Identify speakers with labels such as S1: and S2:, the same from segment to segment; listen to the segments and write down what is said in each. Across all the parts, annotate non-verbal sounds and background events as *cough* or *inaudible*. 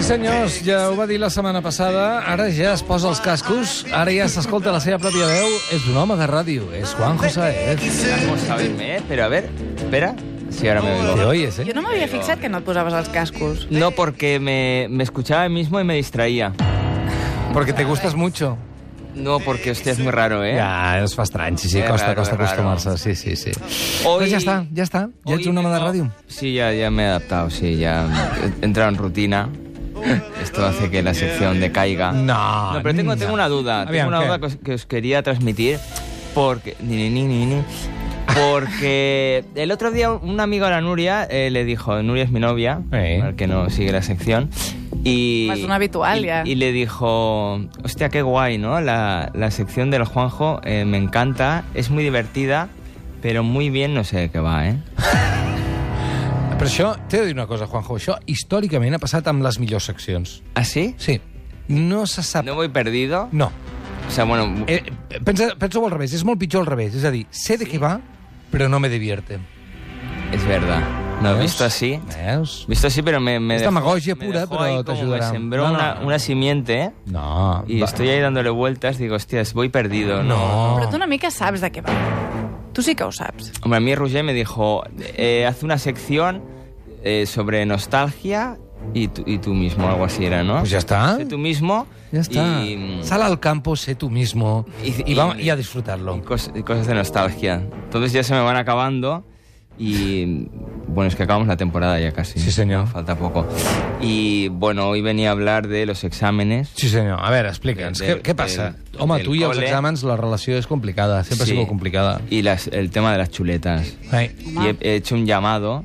S1: senyors, ja ho va dir la setmana passada, ara ja es posa els cascos, ara ja s'escolta la seva pròpia veu, és un home de ràdio, és Juan Josaez.
S2: Vamos a verme, ¿eh? Pero a ver, espera. Sí, ahora me
S1: Te
S2: oigo.
S1: oyes,
S3: Jo
S1: eh?
S3: no m'havia fixat que no et posaves els cascos.
S2: No, porque me, me escuchaba a mí mismo y me distraía.
S1: Porque te gustas mucho.
S2: No, porque usted es muy raro, ¿eh?
S1: Ja, es fa estrany, sí, sí,
S2: Eh,
S1: costa,
S2: raro,
S1: costa
S2: raro.
S1: acostumar-se, sí, sí, sí.
S2: Hoy-
S1: Però ja està, ja està, ja
S2: Hoy
S1: ets un home de
S2: vengo-
S1: ràdio.
S2: Sí, ya, ya me he adaptado, sí, ya he entrado en rutina. Esto hace que la sección decaiga.
S1: No,
S2: No, pero tengo,
S1: niña.
S2: tengo una duda.
S1: Aviam,
S2: tengo una
S1: què?
S2: duda que os, que os quería transmitir. Porque. Ni, ni, ni, ni. Porque *laughs* el otro día un amigo de la Nuria eh, le dijo, Nuria es mi novia,
S1: Eh.
S2: al que no sigue la sección, y...
S3: Pues Es una habitual,
S2: y-
S3: ya.
S2: Y le dijo, hostia, qué guay, ¿no? La, la sección del Juanjo eh, me encanta, es muy divertida, pero muy bien no sé de qué va, ¿eh?
S1: Però això, t'he de dir una cosa, Juanjo, això històricament ha passat amb les millors seccions.
S2: ¿Así?
S1: Sí. No se sap...
S2: ¿Ah, ¿No voy perdido?
S1: No.
S2: O sea, bueno...
S1: Eh, pensa, pensa al revés, és molt pitjor al revés. És a dir, sé de què va, però no me divierte.
S2: Es verdad. No,
S1: Veus?
S2: visto así.
S1: Veus?
S2: Visto así, pero me. me
S1: Es
S2: dejó-
S1: demagogia
S2: me
S1: pura,
S2: dejó
S1: pero
S2: ahí
S1: te
S2: como
S1: ayudará.
S2: Me sembró
S1: No, no,
S2: una,
S1: no.
S2: una simiente
S1: No.
S2: y
S1: va-
S2: estoy ahí dándole vueltas. Digo, hostias, voy perdido.
S1: No.
S3: Però tu una mica saps de què va. Tu sí que ho saps.
S2: Hombre, a mí Roger me dijo, eh, haz una sección eh, sobre nostalgia y tú, y tú mismo, algo así era, ¿no?
S1: Pues ya está.
S2: Sé tú mismo.
S1: Ya está.
S2: Y, mm,
S1: Sal al campo, sé tú mismo y,
S2: Y-
S1: va-
S2: y-
S1: y a
S2: y
S1: disfrutarlo.
S2: cos- y cosas de nostalgia. Entonces ya se me van acabando y bueno, es que acabamos la temporada ya casi.
S1: Sí, señor.
S2: Falta poco. Y bueno, hoy venía a hablar de los exámenes.
S1: Sí, senyor. A veure, explica'ns.
S2: Del-
S1: Què, què
S2: del-
S1: passa? Home,
S2: del
S1: tu i els
S2: cole.
S1: exàmens, la relació és complicada. Sempre
S2: Sí.
S1: ha sigut complicada.
S2: Y las- el tema de las chuletas.
S1: Ai.
S2: Y he, he hecho un llamado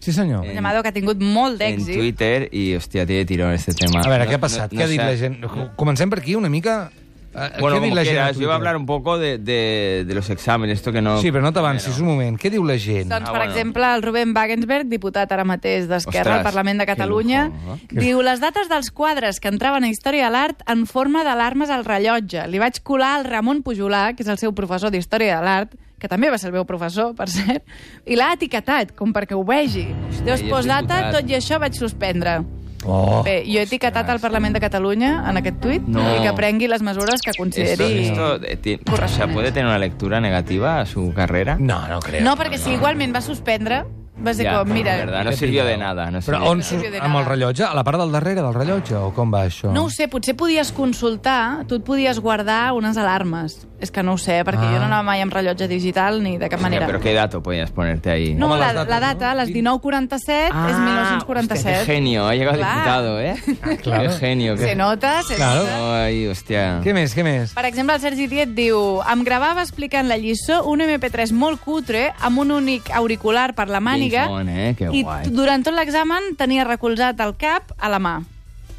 S1: Sí, senyor.
S2: Eh,
S3: Un llamado que ha tingut molt
S2: en
S3: d'èxit.
S2: Twitter y, hostia, tiene tirón este tema.
S1: A veure,
S2: No-
S1: què ha passat?
S2: no-
S1: què
S2: no
S1: ha dit
S2: sé-
S1: la gent? Comencem per aquí, una mica? Eh,
S2: Bueno,
S1: què ha dit
S2: como
S1: la gent a
S2: quieras, yo voy
S1: Twitter?
S2: a hablar un poco de, de- de los exámenes, esto que no...
S1: Sí, però no t'avancis un moment. Què diu la gent?
S3: Doncs,
S2: Ah,
S3: per
S2: bueno.
S3: exemple, el Rubén Wagensberg, diputat ara mateix d'Esquerra
S2: Ostres,
S3: al Parlament de
S2: que
S3: Catalunya,
S2: lujo, eh?
S3: diu les dates dels quadres que entraven a Història de l'Art en forma d'alarmes al rellotge. Li vaig colar al Ramon Pujolà, que és el seu professor d'Història de l'Art, que també va ser el meu professor, per cert, i l'ha etiquetat, com perquè ho vegi. Llavors,
S2: i és
S3: postdata,
S2: diputat.
S3: tot i això vaig suspendre.
S1: Oh.
S3: Bé, jo he etiquetat al Parlament de Catalunya en aquest tuit
S2: No.
S3: i que prengui les mesures que
S2: Esto,
S3: consideri...
S2: esto, eh, ti- o sea,
S3: Correctamente.
S2: ¿puede tener una lectura negativa a su carrera?
S1: No, no creo.
S3: No, perquè si igualment va suspendre, va ser
S2: Ja,
S3: com, mira...
S2: és verdad, no sirvió de nada. No
S1: Però
S2: sirvió
S1: on
S2: de
S1: surt?
S3: sirvió de
S1: Amb el
S3: nada.
S1: rellotge? A la part del darrere del rellotge? O com va això?
S3: No ho sé, potser podies consultar, tu et podies guardar unes alarmes. És que no ho sé, perquè
S1: Ah.
S3: jo no anava mai amb rellotge digital ni de cap
S2: Hostia,
S3: manera.
S2: Pero qué dato podías ponerte ahí.
S3: No,
S1: Home,
S3: la,
S1: les dates,
S3: la data,
S1: no?
S3: les 1947,
S2: Ah,
S3: és
S2: hostia,
S3: 1947.
S2: qué genio, ha llegado
S3: Claro.
S2: diputado,
S3: *laughs*
S2: ¿eh?
S1: Ah, claro.
S2: Qué genio. qué-
S3: Se nota, se
S1: Claro.
S3: nota.
S2: Ay, hostia.
S1: Què més, què més?
S3: Per exemple, el Sergi Tiet diu em gravava explicant la lliçó un MP3 molt cutre amb un únic auricular per la màniga
S2: James Bond, eh? Que
S3: i
S2: guai.
S3: t- durant tot l'examen tenia recolzat el cap a la mà.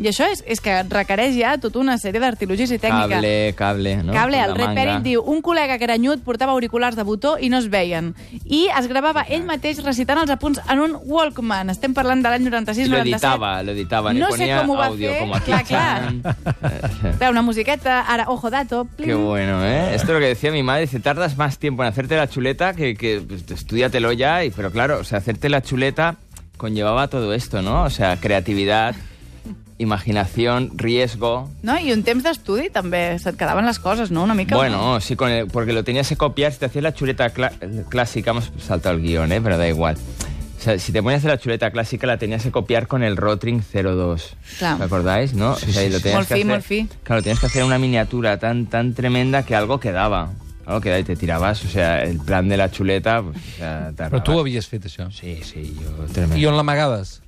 S3: I això és, és que requereix ja tota una sèrie d'artilugis i tècnica.
S2: Cable, cable, ¿no?
S3: Cable,
S2: Con
S3: el
S2: la
S3: Red
S2: manga.
S3: Perit diu un col·lega granyut portava auriculars de botó i no es veien. I es gravava ell mateix recitant els apunts en un Walkman. Estem parlant de l'any
S2: Y lo
S3: 96-97.
S2: editaba, lo editaba.
S3: No
S2: le
S3: sé
S2: ponía
S3: cómo va a
S2: audio,
S3: hacer,
S2: como aquí.
S3: claro,
S2: *laughs*
S3: Veu, una musiqueta, ara, ojo dato,
S2: Qué
S3: plim,
S2: bueno, ¿eh? Esto es lo que decía mi madre. Dice, tardas más tiempo en hacerte la chuleta que, que pues, estudiatelo ya. Y, pero claro, o sea, hacerte la chuleta conllevaba todo esto, ¿no? O sea, creatividad, imaginación, riesgo.
S3: No? I un temps d'estudi, també. Se't quedaven les coses, no? Una mica...
S2: Bueno, sí, con el- porque lo tenías que copiar. Si te hacías la chuleta cla- clásica, hemos saltado el guión, ¿eh? pero da igual. O sea, si te ponías a hacer la chuleta clásica, la tenías que copiar con el Rotring 02.
S3: Claro.
S2: ¿Os acordáis, no?
S1: Sí,
S2: o sea, y
S1: sí,
S2: lo
S1: sí.
S2: tenías
S3: Morfí,
S2: que hacer,
S3: morfí.
S2: Claro, tenías que hacer una miniatura tan, tan tremenda que algo quedaba. Algo quedaba y te tirabas. O sea, el plan de la chuleta. Pues, o sea,
S1: Però
S2: tardaba.
S1: tu ho havies fet, això.
S2: Sí, sí, yo tremendo.
S1: I on l'amagaves?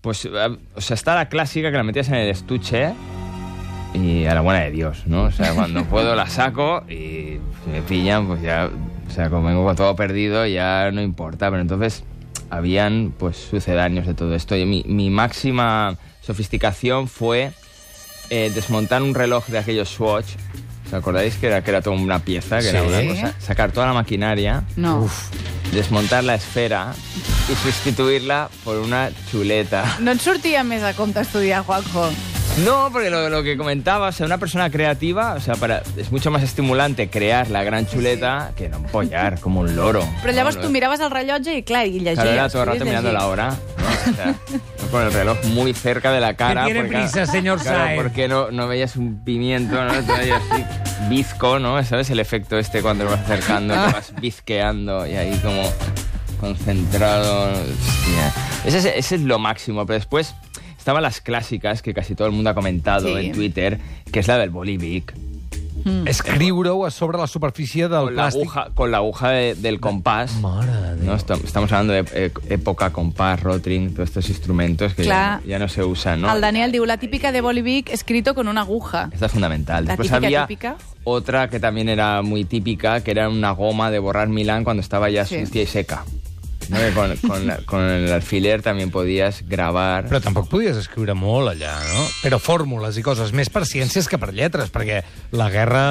S2: Pues, eh, o sea, está la clásica que la metías en el estuche y a la buena de Dios, ¿no? O sea, cuando puedo la saco y si me pillan, pues ya, o sea, como vengo con todo perdido, ya no importa. Pero entonces habían, pues, sucedáneos de todo esto. Y mi, mi máxima sofisticación fue eh, desmontar un reloj de aquellos Swatch. ¿Os acordáis que era, que era toda una pieza? Que era
S1: Sí.
S2: una cosa. Sacar toda la maquinaria
S3: No.
S2: desmontar la esfera y sustituirla por una chuleta.
S3: No et sortia més a compte estudiar, Juanjo.
S2: No, porque lo, lo que comentaba, o sea, una persona creativa, o sea, para, es mucho más estimulante crear la gran xuleta que no empollar como un loro.
S3: Però llavors
S2: No, no.
S3: tu miraves el rellotge i, clar, i llegies.
S2: Claro, era todo el rato
S3: podies
S2: mirando
S3: llegir.
S2: la hora. ¿no? O
S4: *laughs*
S2: sea, con el reloj muy cerca de la cara.
S4: Que tiene
S2: porque-
S4: prisa, señor
S2: claro,
S4: Saez.
S2: porque no, no veías un pimiento, ¿no? Todo ahí así, bizco, ¿no? ¿Sabes el efecto este cuando lo vas acercando, te vas bizqueando y ahí como concentrado? Hostia. Ese es, ese es lo máximo, pero después estaban las clásicas que casi todo el mundo ha comentado
S3: Sí.
S2: en Twitter, que es la del bolivic.
S3: Mm.
S1: Escriure-ho a sobre la superfície del
S2: Con la
S1: plàstic.
S2: aguja, con la aguja de- del compás.
S1: Mare de Déu.
S2: No, estam- estamos hablando de eh, época, compás, rotring, todos estos instrumentos que ya,
S3: Clar.
S2: ya no se usan, ¿no?
S3: El Daniel diu, la típica de Bolivic escrito con una aguja.
S2: Esta es fundamental.
S3: La
S2: Después
S3: típica,
S2: había
S3: típica.
S2: otra que también era muy típica, que era una goma de borrar Milán cuando estaba ya
S3: Sí.
S2: sucia y seca. ¿no? Que Con, con la- con el alfiler también podías grabar.
S1: Però tampoc podies escriure molt allà, no? Però fórmules i coses més per ciències que per lletres, perquè la
S3: acaba
S1: guerra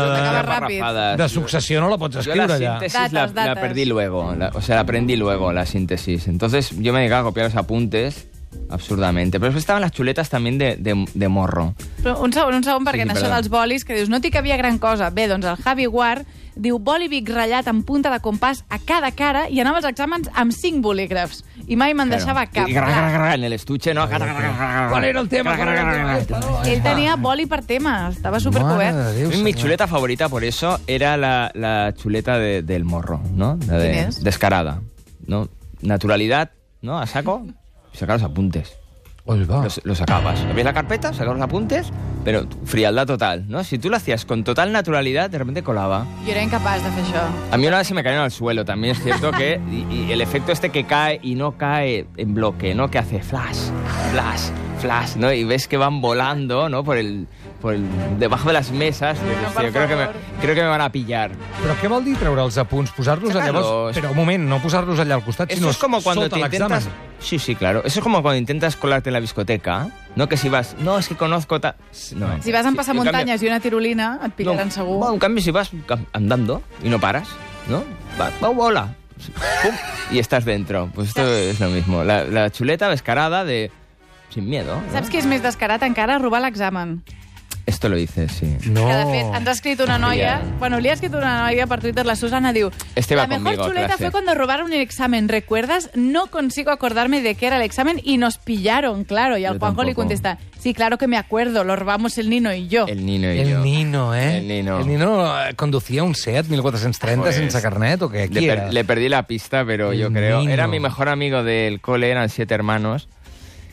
S3: ràpid.
S2: Garrafadas.
S1: de successió no la pots
S2: Yo la
S1: escriure allà.
S2: síntesis
S3: Datas,
S2: la,
S3: datas.
S2: la perdí luego, la- o sea, la aprendí luego, la síntesis. Entonces yo me dedicaba a copiar los apuntes absurdamente. Pero después estaban las chuletas también de, de- de morro.
S3: Però un segon, un segon, perquè
S2: Sí,
S3: en això
S2: perdó.
S3: dels bolis, que dius, no t'hi cabia gran cosa. Bé, doncs el Javi Guard diu bolivic ratllat amb punta de compàs a cada cara i anava als exàmens amb cinc bolígrafs. I mai me'n deixava
S2: Claro.
S3: cap.
S2: Y gra, gra,
S3: clar.
S2: gra, en el estuche, ¿no? Gra, gra, gra, gra.
S1: ¿Cuál era el tema?
S2: Gra, gra, gra, gra.
S3: Ell tenia boli per tema, estava supercobert.
S1: Déu,
S2: Mi
S1: senyor.
S2: chuleta favorita, por eso, era la, la chuleta de- del morro, ¿no? La de-
S3: ¿Quién es?
S2: descarada, ¿no? Naturalidad, ¿no? A saco, sacar los apuntes.
S1: Oi, va.
S2: Los, los sacabas. Abrías la carpeta, sacabas los apuntes, pero frialdad total, ¿no? Si tú lo hacías con total naturalidad, de repente colaba.
S3: Jo era incapaç de fer això.
S2: A mí una vez se me cayeron al suelo, también es cierto que... Y, y el efecto este que cae y no cae en bloque, ¿no? Que hace flash, flash, flash, ¿no? Y ves que van volando, ¿no? Por el... Por el debajo de las mesas. Y dices,
S3: No, por
S2: "Tío, creo, que me,
S3: favor".
S2: creo que me van a pillar.
S1: Però què vol dir treure els apunts? Posar-los allà...
S2: Sacar-los.
S1: Però un moment, no posar-los allà al costat,
S2: Eso
S1: sinó
S2: es como cuando
S1: sota
S2: te
S1: l'examen.
S2: intentas... Sí, sí, claro. Eso es como cuando intentas colarte en la discoteca, ¿no? Que si vas... No, es que conozco... ta-". No.
S3: Si vas en
S2: Sí, en cambio-
S3: passamuntanyes i una tirolina, et pillaran segur.
S2: Bueno, en cambio, si vas cam- andando y no paras, ¿no? Va, va, hola. Pum, y estás dentro. Pues esto es lo mismo. La, la chuleta descarada de... Sin miedo. ¿no?
S3: Saps què és més descarat encara? Robar l'examen.
S2: Esto lo dices, sí.
S1: No.
S3: Que, de fet, ens ha escrit una noia...
S2: Ja.
S3: Bueno, li ha escrit una noia per Twitter, la Susana, diu...
S2: Este va
S3: la mejor
S2: conmigo a
S3: chuleta
S2: clase."
S3: fue cuando robaron el examen, ¿recuerdas? No consigo acordarme de qué era el examen y nos pillaron, claro. Y al
S2: Yo
S3: Juanjo le
S2: tampoco.
S3: contesta, sí, claro que me acuerdo, lo robamos el Nino y yo.
S2: El Nino y yo.
S1: El Nino, eh?
S2: El Nino.
S1: El Nino eh, conducía un Seat 1430
S2: Pues,
S1: sense carnet o què?
S2: Le,
S1: Qui
S2: per-
S1: era?
S2: le perdí la pista, pero yo
S1: El
S2: creo... Era
S1: Nino.
S2: mi mejor amigo del cole, eran siete hermanos.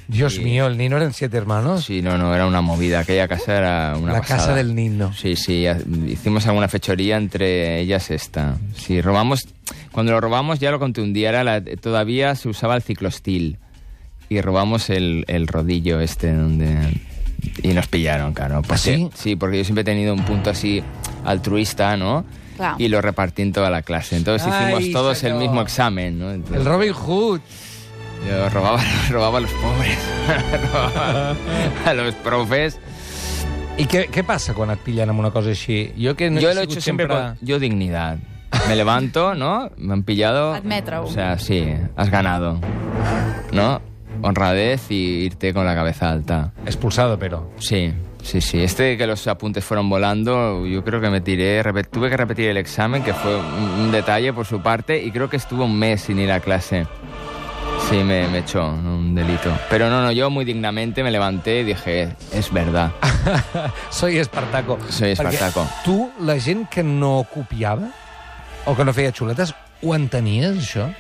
S1: Dios mío, el Nino eran siete hermanos.
S2: Sí, no, no, era una movida. Aquella casa era una
S1: La
S2: pasada.
S1: casa del Nino.
S2: Sí, sí, ha- hicimos alguna fechoría entre ellas esta. Sí, robamos... Cuando lo robamos ya lo contundía, era la- todavía se usaba el ciclostil. Y robamos el, el rodillo este donde... Y nos pillaron, claro. Porque,
S1: ¿Ah, sí?
S2: porque yo siempre he tenido un punto así altruista, ¿no?
S3: Claro.
S2: Y lo repartí en toda la clase. Entonces hicimos
S1: Ay,
S2: todos
S1: señor.
S2: el mismo examen, ¿no? Entonces-
S1: El Robin Hood.
S2: yo robaba, *laughs* robaba a los pobres, *laughs* robaba a los profes.
S1: I què, què passa quan et pillen amb una cosa així? Jo que no
S2: yo
S1: he
S2: lo he
S1: sigut
S2: hecho siempre con... Yo dignidad. Me levanto, ¿no? Me han pillado.
S3: Admítelo.
S2: O sea, sí, has ganado. ¿No? Honradez y irte con la cabeza alta.
S1: Expulsado, però.
S2: Sí, sí, sí. Este de que los apuntes fueron volando, yo creo que me tiré, repet- tuve que repetir el examen, que fue un, un detalle por su parte, y creo que estuve un mes sin ir a clase. Sí, me, me echó ¿no? un delito. Pero no, no, yo muy dignamente me levanté y dije, es verdad.
S1: Soy Espartaco.
S2: Soy Espartaco.
S1: Perquè tu, la gent que no copiava o que no feia xuletes, ho entenies, això?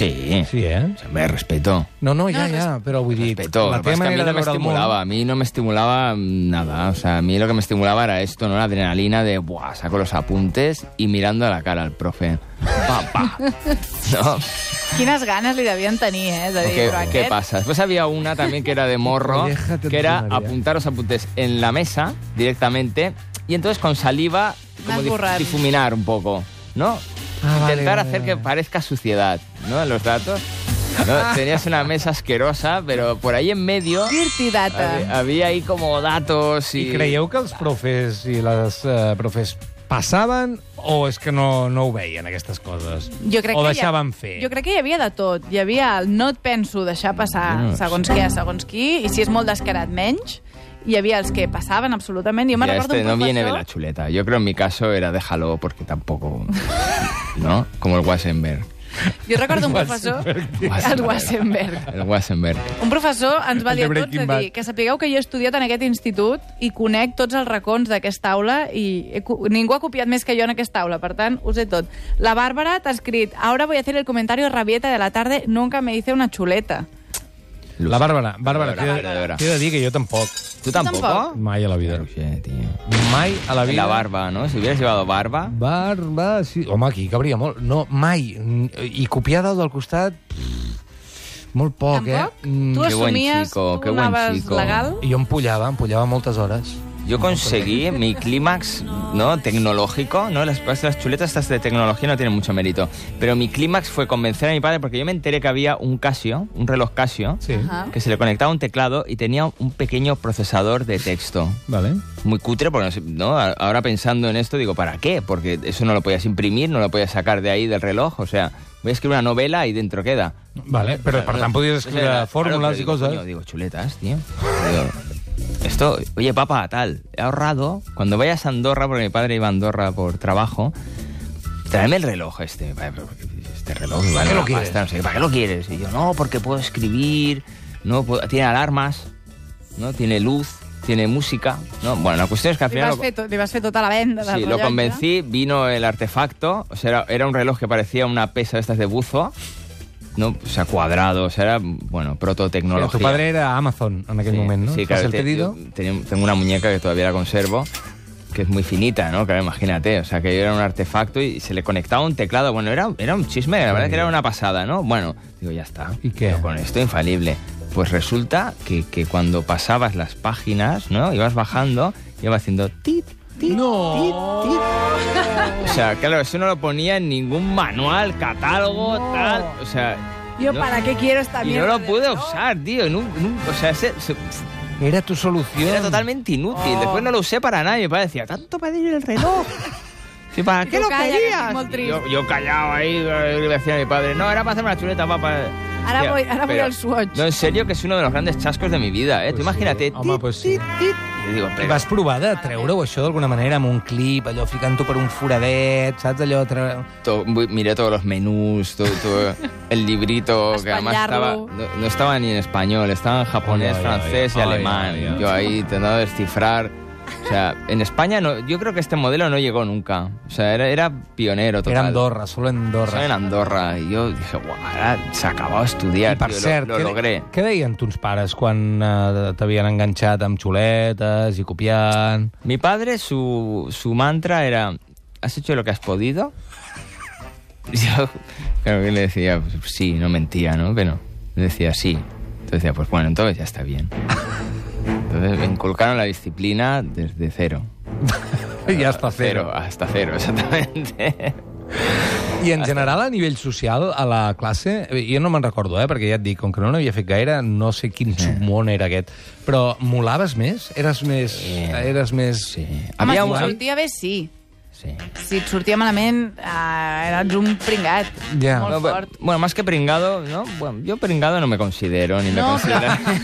S2: Sí,
S1: Sí, eh?
S2: me respetó.
S1: No, no, ja, ja, però vull dir...
S2: Respetó. Lo que pasa es que a mí no me
S1: veure el món-
S2: estimulaba, a mí no me estimulaba nada. O sea, a mí lo que me estimulaba era esto, ¿no? La adrenalina de, buah, saco los apuntes y mirando a la cara al
S1: *laughs*
S2: profe. Pa, pa. ¿No?
S3: Quines ganes li devien tenir, eh? De dir,
S2: ¿Qué,
S3: però
S2: qué
S3: aquest...
S2: pasa? Después había una también que era de
S1: *laughs*
S2: morro,
S1: Déjate
S2: que era
S1: tonterías.
S2: apuntar los apuntes en la mesa directamente y entonces con saliva como
S3: Más
S2: dif-
S3: borrar.
S2: difuminar un poco, ¿no?
S1: Ah, vale,
S2: Intentar
S1: vale,
S2: hacer
S1: vale.
S2: que parezca suciedad, ¿no? En los datos. ¿no? Tenías una mesa asquerosa, pero por ahí en medio
S3: Dirty data.
S2: había, había ahí como datos
S1: I
S2: y...
S1: creieu que els profes i les eh, profes passaven o és que no, no ho veien, aquestes coses?
S3: Jo crec
S1: o
S3: que hi ha-
S1: deixaven fer?
S3: Jo crec que hi havia de tot. Hi havia el no et penso deixar passar,
S2: No,
S3: segons què, segons qui, i si és molt descarat, menys. hi havia els que passaven absolutament. Jo me'n
S2: Ya
S3: recordo
S2: este no
S3: un
S2: viene de
S3: professor...
S2: la chuleta. Yo creo en mi caso era déjalo porque tampoco... ¿No? Como el Wassenberg.
S3: Jo
S2: *laughs*
S3: recordo un professor... El Wassenberg.
S2: El Wassenberg.
S3: Un professor ens va
S4: El de
S3: dir a tots
S4: Breaking
S3: de
S4: Bad.
S3: dir que sapigueu que jo he estudiat en aquest institut i conec tots els racons d'aquesta aula i he, co- ningú ha copiat més que jo en aquesta aula, per tant, ho sé tot. La Bàrbara t'ha escrit Ahora voy a hacer el comentario rabieta de la tarde nunca me hice una chuleta.
S1: La Bàrbara, Bàrbara, t'he
S2: Bàrbara,
S1: de,
S2: Bàrbara.
S1: t'he de dir que jo tampoc.
S2: ¿Tú
S3: tampoco?
S2: tampoco?
S1: Mai a la vida.
S2: Claro, sí, tío.
S1: Mai a la vida.
S2: La barba, ¿no? Si hubieras llevado barba...
S1: Barba, sí. Home, aquí cabria molt. No, mai. Mm, I copiar del del costat... pff, molt poc,
S3: Tampoc?
S1: eh? Mm,
S3: tu
S2: qué buen
S3: assumies,
S2: chico,
S3: tu
S2: qué buen
S3: anaves
S2: chico.
S3: legal?
S1: Jo em pullava, em pullava moltes hores.
S2: Yo conseguí mi clímax ¿no? tecnológico, ¿no? Las, pues, las chuletas estas de tecnología no tienen mucho mérito, pero mi clímax fue convencer a mi padre porque yo me enteré que había un Casio, un reloj Casio,
S1: Sí.
S3: Ajá.
S2: que se le conectaba un teclado y tenía un pequeño procesador de texto.
S1: Vale.
S2: Muy cutre, porque no sé, ¿no? A- ahora pensando en esto digo, ¿para qué? Porque eso no lo podías imprimir, no lo podías sacar de ahí del reloj, o sea, voy a escribir una novela y dentro queda.
S1: Vale, però per tant podies escriure
S2: Claro,
S1: fórmules
S2: pero
S1: i
S2: digo,
S1: coses.
S2: coño, digo, chuletas, tío. Digo, esto, oye, papá, tal, he ahorrado. Cuando vayas a Andorra, porque mi padre iba a Andorra por trabajo, tráeme el reloj este. Mi padre, pero ¿por qué dices, Este reloj, ¿para
S1: qué lo quieres?
S2: ¿Para qué lo quieres? Y yo, no, porque puedo escribir, no puedo- tiene alarmas, no tiene luz, tiene música. No, bueno, la cuestión es que al
S3: Li
S2: final...
S3: vas,
S2: lo-
S3: fer to, li vas fer tota la *laughs* venda del
S2: Sí, lo
S3: rellotge.
S2: convencí, vino el artefacto, o sea, era, era un reloj que parecía una pesa de estas de buzo, no, o sea, cuadrado, o sea, era, bueno,
S1: Mira,
S2: prototecnología.
S1: tu padre era Amazon en aquell
S2: Sí,
S1: moment, no?
S2: Sí,
S1: Fas
S2: claro,
S1: el
S2: te-
S1: pedido.
S2: yo tenía- tengo una muñeca que todavía la conservo, que es muy finita, ¿no? Claro, imagínate, o sea, que yo era un artefacto y se le conectaba un teclado, bueno, era, era un chisme, la verdad que era una pasada, ¿no? Bueno, digo, ya está.
S1: ¿Y qué?
S2: Yo con esto infalible. Pues resulta que, que cuando pasabas las páginas, ¿no? Ibas bajando, iba haciendo tit, tit,
S1: No.
S2: tit, tit. O sea, claro, eso no lo ponía en ningún manual, catálogo, tal. O sea.
S3: Yo,
S2: no-
S3: ¿para qué quiero esta
S2: Y
S3: mierda?
S2: no lo
S3: de
S2: pude
S3: reloj?
S2: usar, tío. en un- en un- o sea, se- se-
S1: Era tu solució.
S2: era totalmente inútil. Después no lo usé para nadie. Mi padre decía, tanto pedir el reloj. *laughs* Sí, ¿Para
S3: Y
S2: qué
S3: tú
S2: lo
S3: calla, que estoy
S2: querías?
S3: muy triste.
S2: Yo, yo callado ahí, eh, le decía a mi padre, no, era para hacerme una chuleta, papá.
S3: Ahora
S2: Hostia,
S3: voy- ahora voy
S2: pero-
S3: al Swatch.
S2: No, en serio, que es uno de los grandes chascos de mi vida, ¿eh?
S1: Pues sí.
S2: Tú imagínate.
S1: Home,
S2: tit,
S1: pues sí.
S2: tit, tit. Y yo digo,
S1: I
S2: pero...
S1: vas provar de treure-ho, això, d'alguna manera, amb un clip, allò, ficant-ho per un foradet, saps, allò... Tre...
S2: to- bu- miré todos los menús, todo, todo el librito que además estaba,
S3: Españarlo.
S2: no, no estaba ni en español, estaba en japonés,
S1: Ay, ay,
S2: francés
S1: ay.
S2: y
S1: Ay,
S2: alemán.
S1: ay, ay.
S2: Yo ahí intentando descifrar. O sea, en España no, yo creo que este modelo no llegó nunca. O sea, era, era pionero total.
S1: Era Andorra, solo
S2: Solo
S1: Andorra.
S2: en Andorra. Y yo dije, guau, ahora se acabó de estudiar.
S1: I per
S2: tío, lo-
S1: cert,
S2: lo,
S1: què,
S2: logré.
S1: què deien tons pares quan eh, t'havien enganxat amb xuletes i copiant?
S2: Mi padre, su, su mantra era, ¿has hecho lo que has podido? *laughs* Y Yo, claro que le decía, pues, sí, no mentía, ¿no? Pero le decía, sí. Entonces decía, pues bueno, entonces ya está bien. Entonces me inculcaron la disciplina desde cero.
S1: I ja està
S2: Eh, Cero,
S1: cero.
S2: hasta cero, *laughs* exactamente.
S1: I en general, a nivell social, a la classe, eh, jo no me'n recordo, eh, perquè ja et dic, com que no n'havia fet gaire, no sé quin submón era aquest, però molaves més? Eres més...
S2: Eh,
S1: Eres més... Ah,
S2: Sí.
S3: Home,
S2: Había
S3: si et
S2: un...
S3: sortia bé, sí.
S2: Sí.
S3: Si et sortia malament, eh, eres un pringat.
S1: Ja.
S3: Molt
S2: No, pero-
S3: fort.
S2: bueno, más que pringado, ¿no? Bueno, yo pringado no me considero, ni me
S3: No,
S2: considero...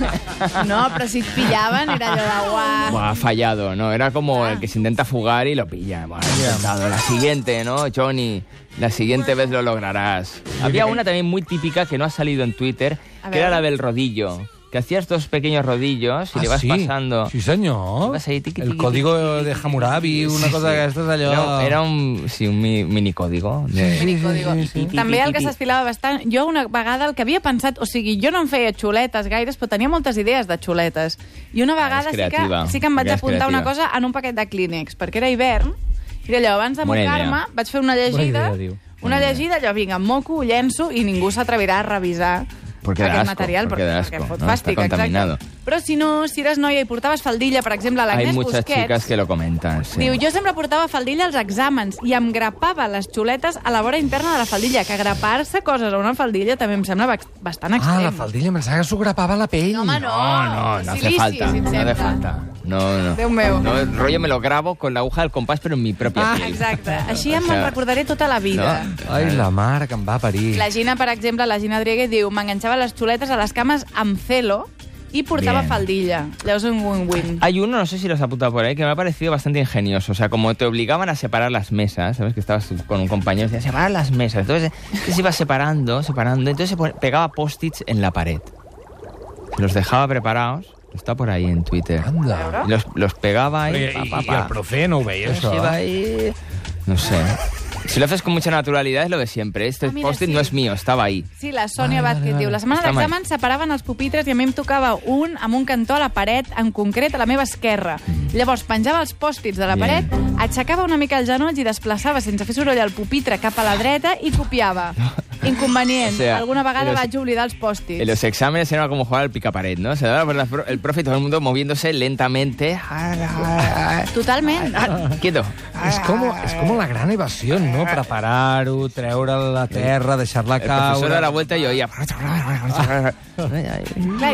S2: *laughs*
S3: però, no, però si et pillaven era allò de guau.
S2: Buah, ha fallado, ¿no? Era como el que se intenta fugar y lo pilla. Buah, lo he intentado. La siguiente, ¿no, Johnny? La siguiente vez lo lograrás. Había una también muy típica que no ha salido en Twitter,
S3: A
S2: que era
S3: ver.
S2: la del rodillo. Que hacías dos pequeños rodillos y le vas
S1: Ah, sí?
S2: pasando...
S1: Sí, senyor.
S2: Vas ahí, tiqui,
S1: El
S2: tiqui,
S1: código de Hammurabi, una cosa d'aquestes, allò...
S2: No, era un, sí, un mi- minicódigo. de-
S1: Sí, sí,
S3: Código.
S1: sí, sí.
S3: També el que s'esfilava bastant... Jo una vegada el que havia pensat... O sigui, jo no em feia xuletes gaires, però tenia moltes idees de xuletes. I una vegada sí que,
S2: creativa.
S3: sí que em vaig
S2: Perquè és
S3: apuntar una
S2: creativa.
S3: cosa en un paquet de clínex, perquè era hivern, i allò, abans de
S2: Bona idea.
S3: mocar-me, vaig fer una llegida...
S1: Bona idea, diu.
S3: una llegida, allò, vinga, em moco, ho llenço i ningú s'atrevirà a revisar
S2: Perquè da
S3: aquest
S2: asco,
S3: material
S2: perquè da asco,
S3: em fot
S2: no? Està
S3: fàstic, exacte.
S2: contaminado.
S3: Però si no, si eres noia i portaves faldilla, per exemple, a
S2: Hay
S3: l'Agnès
S2: muchas
S3: Busquets...
S2: chicas que lo comentan. sí.
S3: Diu, jo sempre portava faldilla als exàmens i em grapava les xuletes a la vora interna de la faldilla, que grapar-se coses a una faldilla també em sembla bax- bastant
S1: Ah,
S3: extrem.
S1: la faldilla, em pensava que s'ho grapava la pell.
S3: No, home, no.
S2: No, no, no hace
S3: Silici,
S2: falta.
S3: si et
S2: No hace
S3: sembla.
S2: falta. No, no.
S3: Déu meu. Ah,
S2: No, rollo me lo grabo con la aguja del compás, pero en mi propia piel. *laughs*
S3: Exacte. Així em
S2: O sea,
S3: en recordaré tota la vida.
S2: no?
S1: Ai, la mare que em va parir.
S3: La Gina, per exemple, la Gina Driegue diu m'enganxava les xuletes a les cames amb celo i portava
S2: Bien.
S3: faldilla. Llavors un win-win.
S2: Hay uno, no sé si los apunta por ahí, que me ha parecido bastante ingenioso. O sea, como te obligaban a separar las mesas, ¿sabes? Que estabas con un compañero y decía, separar las mesas. Entonces eh, se iba separando, separando. Entonces se pon- pegaba post-its en la pared. Los dejaba preparados. Està por ahí en Twitter.
S3: ¿Ah?
S1: Anda.
S2: Los, los pegaba
S1: I,
S2: ahí.
S1: i,
S2: pa, pa,
S1: I el
S2: pa.
S1: profe no ho veia,
S2: Se
S1: això? eh?
S2: iba ahí. No sé. Si lo haces con mucha naturalidad es lo de siempre. Este
S3: Ah, mira,
S2: post-it
S3: sí.
S2: no es mío, estaba ahí.
S3: Sí, la Sònia
S1: Vale,
S3: Vázquez
S1: vale,
S3: diu, la setmana
S2: Està
S3: d'examen separaven els pupitres i a mi em tocava un amb un cantó a la paret, en concret a la meva esquerra. Llavors penjava els pòstits de la
S2: Mm. Bien.
S3: paret, aixecava una mica els genolls i desplaçava sense fer soroll el pupitre cap a la dreta i
S2: *laughs*
S3: copiava. Inconvenient.
S2: O sea,
S3: Alguna vegada
S2: los-
S3: vaig oblidar els
S2: En
S3: pòstits.
S2: los exámenes era como jugar al picapared, ¿no? Se daba por la pro- el profe y todo el mundo moviéndose lentamente.
S3: Totalment.
S2: Ah, *laughs* Quieto.
S1: És com, és com la gran evasió, no? Preparar-ho, treure la terra, deixar-la
S2: Eh. El profesor
S1: caure...
S2: a la vuelta y yo
S1: *laughs*
S2: oía.
S3: Clar,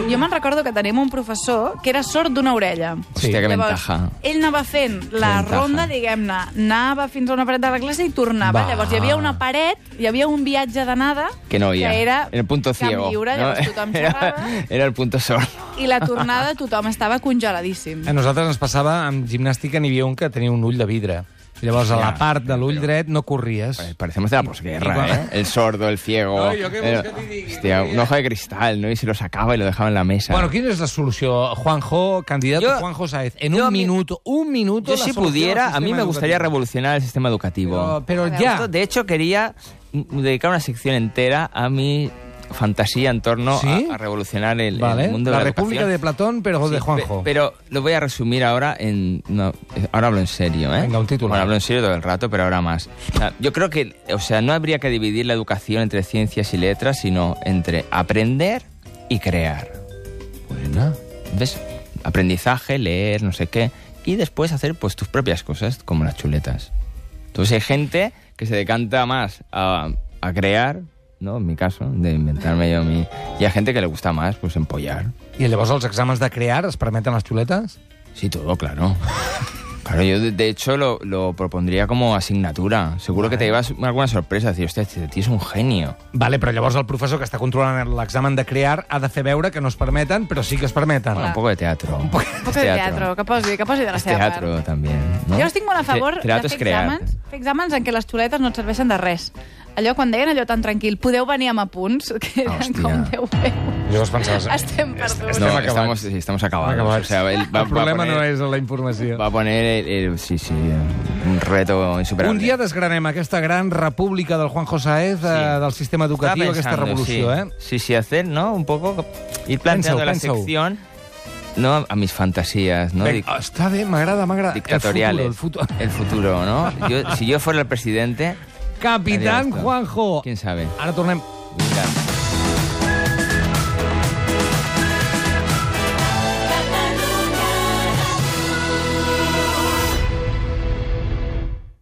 S3: jo me'n recordo que tenim un professor que era sord d'una orella.
S2: Hòstia, que ventaja.
S3: ell anava fent la
S2: Ventaja.
S3: ronda, diguem-ne, anava fins a una paret de la classe i tornava.
S1: Va.
S3: Llavors hi havia una paret, hi havia un viatge d'anada...
S2: Que no oía.
S3: Que era
S2: el punto
S3: camp
S2: ciego.
S3: lliure,
S2: ¿no?
S3: llavors
S2: *laughs*
S3: tothom
S2: era,
S3: xerrava.
S2: era el punto sordo.
S3: I la tornada tothom estava congeladíssim.
S1: A nosaltres ens passava, amb gimnàstica n'hi havia un que tenia un ull de vidre. Llavors, a la
S2: Ja,
S1: part de l'ull dret no corries.
S2: Parecemos de la
S1: Igual.
S2: posguerra, ¿eh? El sordo, el ciego.
S1: No, yo qué
S2: el-
S1: busca ti, ti,
S2: hostia,
S1: ti,
S2: un ojo de cristal, ¿no? Y se lo sacaba y lo dejaba en la mesa.
S1: Bueno, quina és la solució? Juanjo, candidato
S2: Jo-
S1: Juanjo Saez. En
S2: jo a
S1: un
S2: mi-
S1: minut, un minut...
S2: Yo
S1: la
S2: si
S1: solució
S2: pudiera,
S1: del
S2: a mí
S1: sistema
S2: me gustaría
S1: educatiu.
S2: revolucionar el sistema educativo.
S1: Però, però
S3: A
S1: ja...
S2: Esto, de hecho, quería mm, dedicar una sección entera a mi fantasía en torno
S1: ¿Sí?
S2: a, a revolucionar el, el
S1: Vale.
S2: mundo
S1: La
S2: de la
S1: República
S2: educación.
S1: de Platón, pero de
S2: Sí,
S1: Juanjo.
S2: pe- pero lo voy a resumir ahora en... no, eh, ahora hablo en serio, ¿eh?
S1: Venga, un titular.
S2: Bueno, hablo en serio todo el rato, pero ahora más. O sea, yo creo que, o sea, no habría que dividir la educación entre ciencias y letras, sino entre aprender y crear.
S1: Buena.
S2: ¿Ves? Aprendizaje, leer, no sé qué. Y después hacer pues tus propias cosas, como las chuletas. Entonces hay gente que se decanta más a, a crear, ¿no? En mi caso, de inventarme yo mi... Y hay gente que le gusta más, pues, empollar.
S1: I llavors els exàmens de crear es permeten les xuletes?
S2: Sí, todo, claro. Claro, yo de, de hecho lo, lo propondría como asignatura. Seguro que te llevas alguna sorpresa, decir, hostia, este tío es un genio.
S1: Vale, però llavors el professor que està controlant l'examen de crear ha de fer veure que no es permeten, però sí que es permeten.
S2: Bueno, un poco de teatro. Un
S3: Ah. Un poc de teatro, que posi, que posi de la
S2: Es
S3: seva
S2: teatro
S3: part.
S2: también. ¿no?
S3: Jo estic molt a favor
S2: Te-
S3: de
S2: teatro
S3: fer
S2: es crear.
S3: exàmens,
S1: Este
S3: fer exàmens en què les xuletes no et serveixen de res. Allò, quan deien allò tan tranquil, podeu venir amb apunts, *laughs* que eren
S2: Hòstia.
S3: com Déu meu.
S1: Llavors pensaves...
S3: Estem perduts.
S1: Estem
S2: no,
S1: acabats.
S2: estamos, sí, estamos acabados.
S1: Acabats.
S2: O sea, él Ah, va,
S1: el problema
S2: va a poner,
S1: no és la informació.
S2: Va a poner el, el- sí, sí, un reto insuperable.
S1: Un dia desgranem aquesta gran república del Juan Josaez sí. del sistema educatiu,
S2: Estaba
S1: aquesta
S2: pensando,
S1: revolució,
S2: sí.
S1: eh?
S2: Sí, sí, hacer, ¿no? Un poco ir
S1: Pensa-ho,
S2: planteando la
S1: pensa-ho.
S2: sección ¿no? a mis fantasías, ¿no?
S1: Venga,
S2: Dic-
S1: està bé, m'agrada, *laughs* m'agrada.
S2: dictatoriales.
S1: El futuro, el futuro.
S2: El futuro, ¿no? Yo- si yo fuera el presidente,
S1: Capitán
S2: Adiós,
S1: Juanjo!
S2: quién sabe.
S1: Ara tornem.
S2: Mira.